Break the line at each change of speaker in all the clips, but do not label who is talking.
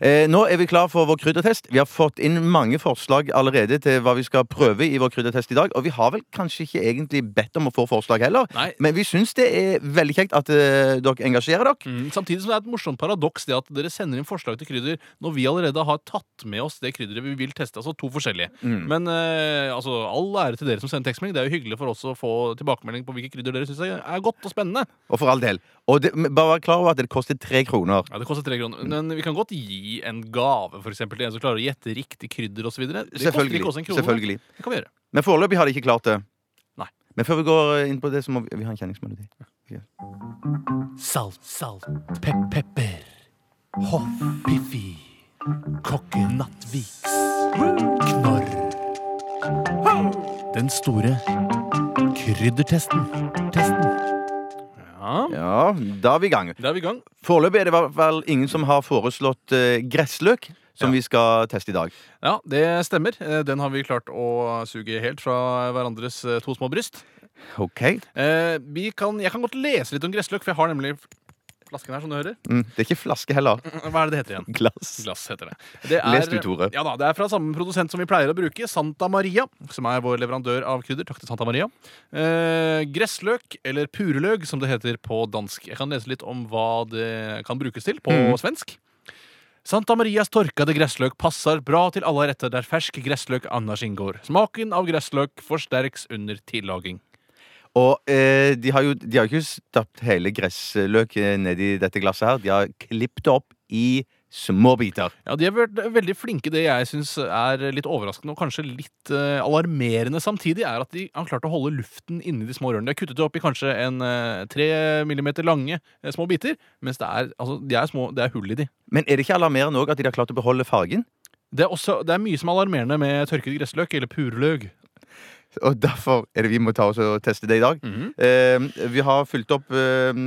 Eh, nå er vi klar for vår kryddertest. Vi har fått inn mange forslag allerede til hva vi skal prøve i vår kryddertest i dag, og vi har vel kanskje ikke egentlig bedt om å få forslag heller,
Nei.
men vi syns det er veldig kjekt at eh, dere engasjerer dere.
Mm, samtidig som det er et morsomt paradoks det at dere sender inn forslag til krydder når vi allerede har tatt med oss det krydderet vi vil teste. Altså to forskjellige. Men eh, altså, all ære til dere som sender tekstmelding. Det er jo hyggelig for oss å få tilbakemelding på hvilke krydder dere syns er godt og spennende.
Og for all del. Og det, men bare vær klar over at det koster tre kroner.
Ja, Det koster tre kroner. Men vi kan godt gi en gave for eksempel, til en som klarer å gjette riktig krydder osv.
Selvfølgelig. Selvfølgelig.
Det kan vi gjøre.
Men foreløpig har de ikke klart det.
Nei.
Men før vi går inn på det, så må vi, vi ha en kjenningsmelodi.
Salt, salt, pep, pepper, hoff, piffi, kokke, nattviks, knorr. Den store kryddertesten. Testen. Ja,
Ja, da er vi i gang.
da er vi i gang.
Foreløpig er det i hvert fall ingen som har foreslått eh, gressløk, som
Ja.
vi skal teste i dag.
Ja, det stemmer. Eh, Den har vi klart å suge helt fra hverandres eh, to små bryst.
Ok.
Eh, vi kan, jeg kan godt lese litt om gressløk, for jeg har nemlig flasken her, som du hører.
Mm, det er ikke flaske heller.
Hva er det det heter igjen?
Glass.
Glass heter det. det
Les du, Tore.
Ja da, Det er fra samme produsent som vi pleier å bruke, Santa Maria. Som er vår leverandør av krydder. Takk til Santa Maria. Eh, gressløk, eller pureløk som det heter på dansk. Jeg kan lese litt om hva det kan brukes til på
Mm.
svensk. Santa Marias torkede gressløk passer bra til alle retter der fersk gressløk annars inngår. Smaken av gressløk forsterkes under tillaging.
Og eh, de har jo de har jo ikke stappet hele gressløk eh, nedi dette glasset her. De har klippet det opp i små biter.
Ja, De har vært veldig flinke. Det jeg syns er litt overraskende og kanskje litt eh, alarmerende samtidig, er at de har klart å holde luften inni de små rørene. De har kuttet det opp i kanskje en eh, tre millimeter lange eh, små biter, mens det er, altså, de er, små, det er hull i de.
Men er det ikke alarmerende òg at de har klart å beholde fargen?
Det er, også, det er mye som er alarmerende med tørket gressløk eller purløk.
Og derfor er det vi må ta oss og teste det i dag. Eh, vi har fylt opp eh,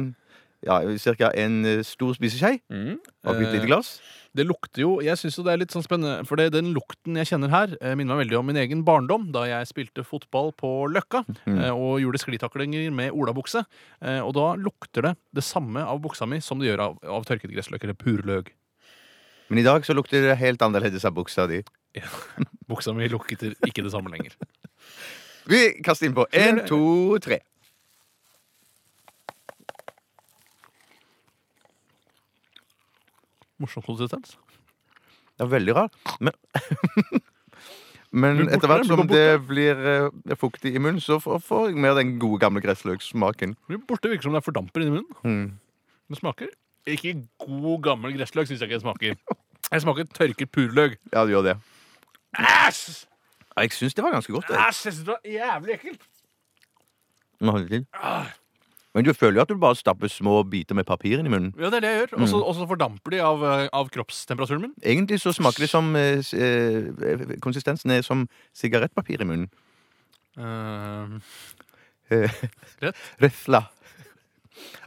ja, ca. en eh, stor spiseskje oppi et
Eh,
lite glass.
Det lukter jo Jeg syns jo det er litt sånn spennende, for det, den lukten jeg kjenner her, eh, minner meg veldig om min egen barndom, da jeg spilte fotball på Løkka eh, og gjorde sklitaklinger med olabukse. Eh, og da lukter det det samme av buksa mi som det gjør av, av tørket gressløk eller purløk.
Men i dag så lukter det helt annerledes av buksa di.
Buksa mi lukter ikke det samme lenger.
Vi kaster innpå. Én, to, tre.
Morsom konsistens.
Det er veldig rart. Men, men
Blir borte,
etter hvert
blir
som
borte.
det blir eh, fuktig i munnen, så får, får jeg mer den gode gamle gressløksmaken.
Blir borte, virker som det er fordamper inni munnen.
Mm.
Det smaker ikke god, gammel gressløk, syns jeg ikke det smaker. Jeg smaker tørket purløk.
Ja, det gjør det.
Æsj!
Ja, Jeg syns det var ganske godt. Jeg.
Æsj, jeg synes det var jævlig ekkelt. Ah.
Nå holder det til. Men du føler jo at du bare stapper små biter med papir inn i munnen.
Ja, det er det jeg gjør. Og så og så fordamper de av, eh, av kroppstemperaturen min.
Egentlig så smaker det som eh, s- eh, Konsistensen er som sigarettpapir i munnen.
Eh,
Eh,
Rett.
Rifla.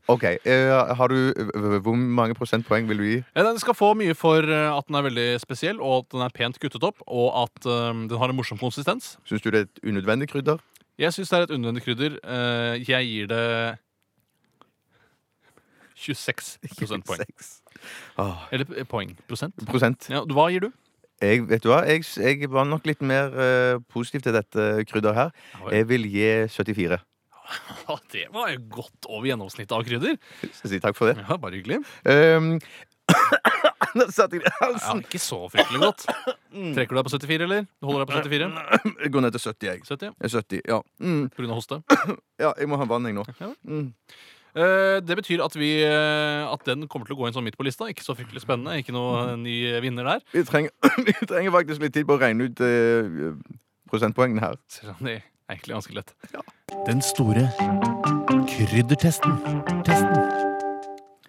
OK. eh, har du eh, Hvor mange prosentpoeng vil du gi?
ja, den skal få mye for eh, at den er veldig spesiell, og at den er pent kuttet opp, og at eh, den har en morsom konsistens.
Syns du det er et unødvendig krydder?
Jeg syns det er et unødvendig krydder. Eh, jeg gir det 26 prosentpoeng.
Seks. Åh,
Eller eh, poeng. Prosent.
prosent.
Ja, hva gir du?
Jeg, vet du hva? Jeg, s- jeg var nok litt mer eh, positiv til dette krydderet her.
Ja, vel.
Jeg vil gi 74.
Ja, det var jo godt over gjennomsnittet av krydder.
Så si takk for det.
Ja, Bare hyggelig.
Um, Nå satt jeg i
Ja,
halsen.
ikke så fryktelig godt. Trekker du deg på 74, eller? Du holder deg på 74?
Jeg går ned til 70, jeg.
70,
Jeg er 70, ja. Mm,
Pga. hoste.
ja, jeg må ha vann, jeg nå.
Ja.
Mm.
Eh, Det betyr at, vi, eh, at den kommer til å gå inn sånn midt på lista. Ikke så fryktelig spennende. Ikke noe eh, ny vinner der.
Vi, trenger, vi trenger faktisk litt tid på å regne ut eh, prosentpoengene her.
Selv om det er egentlig ganske lett.
Den store kryddertesten. Testen.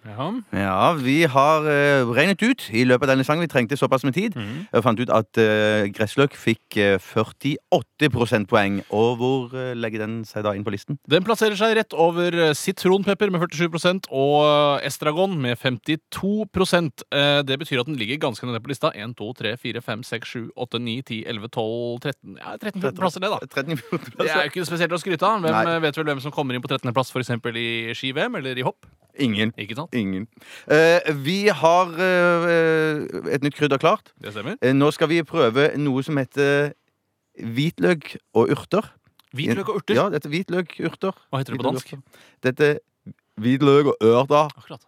Ja.
Ja, vi har eh, regnet ut i løpet av denne sangen. Vi trengte såpass med tid. Jeg fant ut at eh, gressløk fikk eh, 48 prosentpoeng. Og hvor eh, legger den seg da inn på listen?
Den plasserer seg rett over eh, sitronpepper med 47 og eh, estragon med 52 Eh, Det betyr at den ligger ganske nede på lista. 1, 2, 3, 4, 5, 6, 7, 8, 9, 10, 11, 12, 13 Ja, 13 plasser ned, da.
13
Det er jo ikke spesielt å skryte av. Hvem
Nei.
eh, vet vel hvem som kommer inn på 13. plass for eksempel i ski-VM eller i hopp?
Ingen.
Ikke sant?
Ingen. Eh, vi har eh, et nytt krydder klart.
Det stemmer.
Eh, nå skal vi prøve noe som heter hvitløk og urter.
Hvitløk og urter.
Ja, dette er hvitløk, urter.
Hva heter det på dansk?
Dette er hvitløk og urter.
Akkurat.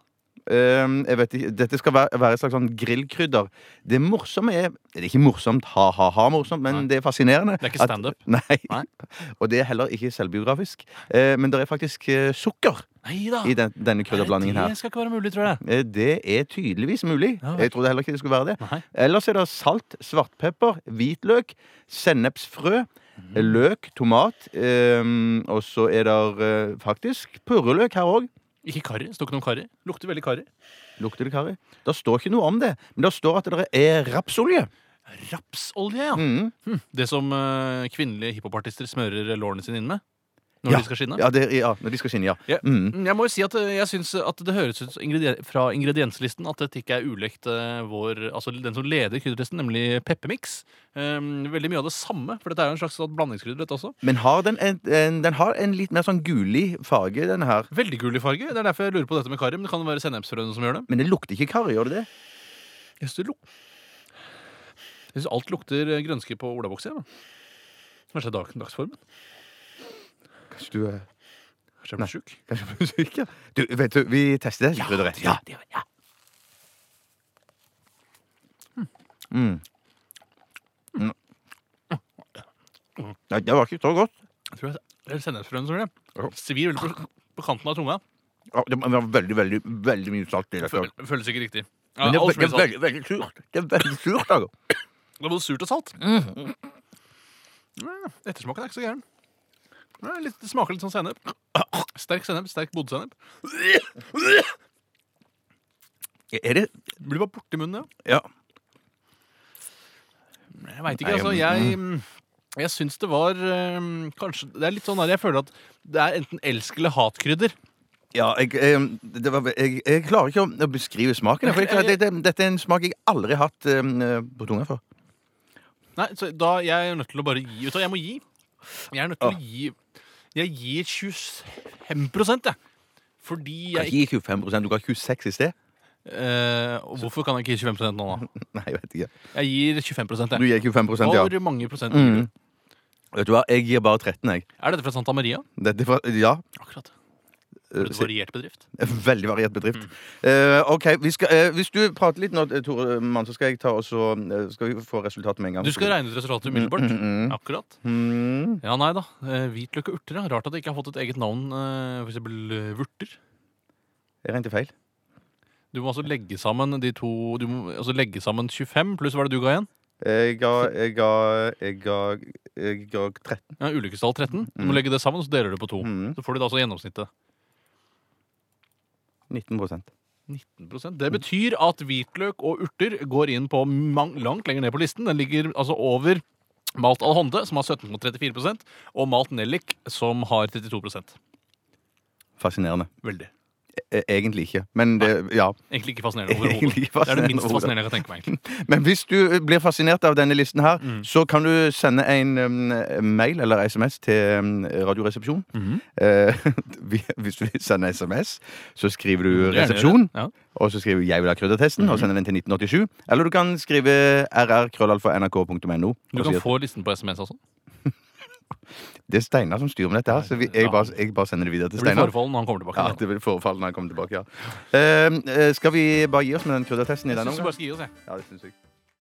Ehm, jeg vet ikke, dette skal være, være et slags sånn grillkrydder. Det morsomme er Det er ikke morsomt, ha-ha-ha morsomt, men
Nei.
det er fascinerende.
Det er ikke
at-
standup.
Nei.
Nei.
Og det er heller ikke selvbiografisk. Eh, men det er faktisk eh, sukker
Nei da.
i den, denne krydderblandingen her.
Det skal ikke være mulig, tror jeg.
Eh, Det er tydeligvis mulig.
Ja, vel.
Jeg trodde heller ikke det skulle være det.
Nei.
Ellers er det salt, svartpepper, hvitløk, sennepsfrø,
Mm.
løk, tomat. ehm, og så er det eh, faktisk purreløk her òg.
Ikke karri. Står ikke noe om karri. Lukter veldig karri.
Lukter det karri? Det står ikke noe om det, men det står at det er rapsolje.
Rapsolje, ja.
Mhm.
Det som eh, kvinnelige hiphopartister smører lårene sine inn med når de skal skinne.
Ja, det, ja, når de skal skinne, ja.
Ja.
Mhm.
Mm, Jeg må jo si at eh, jeg syns at det høres ut som ingredien- fra ingredienslisten at dette ikke er ulikt eh, vår, altså den som leder kryddertesten, nemlig peppermix. Ehm, veldig mye av det samme, for dette er jo en slags sånn blandingskrydder dette også.
Men har den, en, en, den har en litt mer sånn gulig farge, denne her.
Veldig gul i farge. Det er derfor jeg lurer på dette med karri, men det kan jo være sennepsfrøene som gjør det.
Men det lukter ikke karri, gjør det det?
Jeg syns det luk- Jeg synes alt lukter eh, grønske på olabukse. jeg, da. Kanskje det er sånn dag, dagsformen?
Kanskje du er
Kanskje jeg blir sjuk?
Kanskje du er syk, ja. Du, vet du, vi tester det. krydderet. Ja.
det gjør jeg.
Mm. Mm. Nei, det var ikke så godt.
Jeg tror jeg- det er sennepsfrøene som gjør det. Svir veldig på, på kanten av tunga.
Ja, Det var veldig, veldig veldig mye salt i
Det
dette.
føl- føles ikke riktig. Ja,
Men det er,
alt
ve- det
blir
er
salt.
veldig, veldig surt. Det er veldig surt, altså.
Det er både surt og salt. Mm, Ettersmaken er ikke så gæren. Det, er litt, det smaker litt sånn sennep. Sterk sennep, sterk bodsennep.
Er det
Blir bare borti munnen, ja.
Ja.
Jeg veit ikke,
Nei,
altså. Jeg, jeg syns det var eh, Kanskje Det er litt sånn der jeg føler at det er enten elsk- eller hatkrydder.
Ja, jeg, jeg, det var, jeg, jeg klarer ikke å- å beskrive smaken. For jeg, klarer- dette, dette er en smak jeg aldri har hatt eh, på tunga før.
Nei, så da jeg er nødt til å bare gi ut. Og jeg må gi. Jeg er nødt til å gi Jeg gir 25 jeg. Fordi jeg ikke
Ikke 25 Du ga 26 i sted?
eh, og Hvorfor kan jeg ikke gi 25 nå, da?
Nei, jeg vet ikke.
Jeg gir 25 jeg.
Du gir 25 ja.
Hvor mange prosent gir du?
Mm. Vet du hva, jeg gir bare 13, jeg.
Er dette fra Santa Maria?
Dette var, ja,
Akkurat.
eh,
Et variert bedrift. Mm.
Veldig variert bedrift. Eh, ok, vi skal, eh, Hvis du prater litt nå, eh, Tore Mann, så skal jeg ta og så eh, skal vi få resultatet med en gang.
Du skal regne ut resultatet umiddelbart. Akkurat.
Mm.
Ja, nei da. Eh, Hvitløk og urter, ja. Rart at det ikke har fått et eget navn. eh, For eksempel eh, vurter.
Jeg regnet feil.
Du må altså legge sammen de to Du må altså legge sammen 25 pluss hva er det du ga igjen?
Jeg ga, jeg ga, jeg ga, jeg ga 13.
Ja, Ulykkestall 13. Du
Mm.
må legge det sammen, så deler du på to.
Mm.
Så får du da altså gjennomsnittet.
19
19%. Det betyr at hvitløk og urter går inn på mang langt lenger ned på listen. Den ligger altså over malt alhonde, som har 17,34 og malt nellik, som har 32
Fascinerende.
Veldig.
E- Egentlig ikke, men det, ja.
Egentlig ikke fascinerende overhodet.
Egentlig ikke
Det er det minst
overhodet.
fascinerende jeg kan tenke meg. egentlig.
Men hvis du blir fascinert av denne listen her,
Mm.
så kan du sende en um, mail eller SMS til um, Radioresepsjonen.
Mm-hmm.
Eh, vi- hvis du sender SMS, så skriver du
Mm, Gjerne gjør det. Mm-hmm.
'resepsjon',
Ja.
og så skriver du 'jeg vil ha kryddertesten', og sender den til 1987. Eller du kan skrive rr.krøllalfa.nrk.no.
Du
og si
kan
at
få listen på SMS også.
Det er Steinar som styrer med dette her, så vi, jeg, bare, jeg bare sender det videre til
Det blir
Steinar.
forfall når han kommer
Ja,
tilbake.
det vil forfalle når han kommer tilbake, ja. Eh, eh, skal vi bare gi oss med den kryddertesten i
Jeg
denne
synes vi
omgang?
bare skal gi oss, jeg.
Ja, det syns jeg.